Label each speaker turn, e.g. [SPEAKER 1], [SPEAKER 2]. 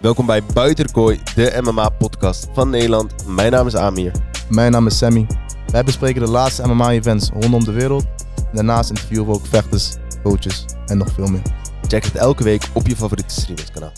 [SPEAKER 1] Welkom bij Buiten de Kooi, de MMA-podcast van Nederland. Mijn naam is Amir.
[SPEAKER 2] Mijn naam is Sammy. Wij bespreken de laatste MMA-events rondom de wereld. Daarnaast interviewen we ook vechters, coaches en nog veel meer.
[SPEAKER 1] Check het elke week op je favoriete streamingskanaal.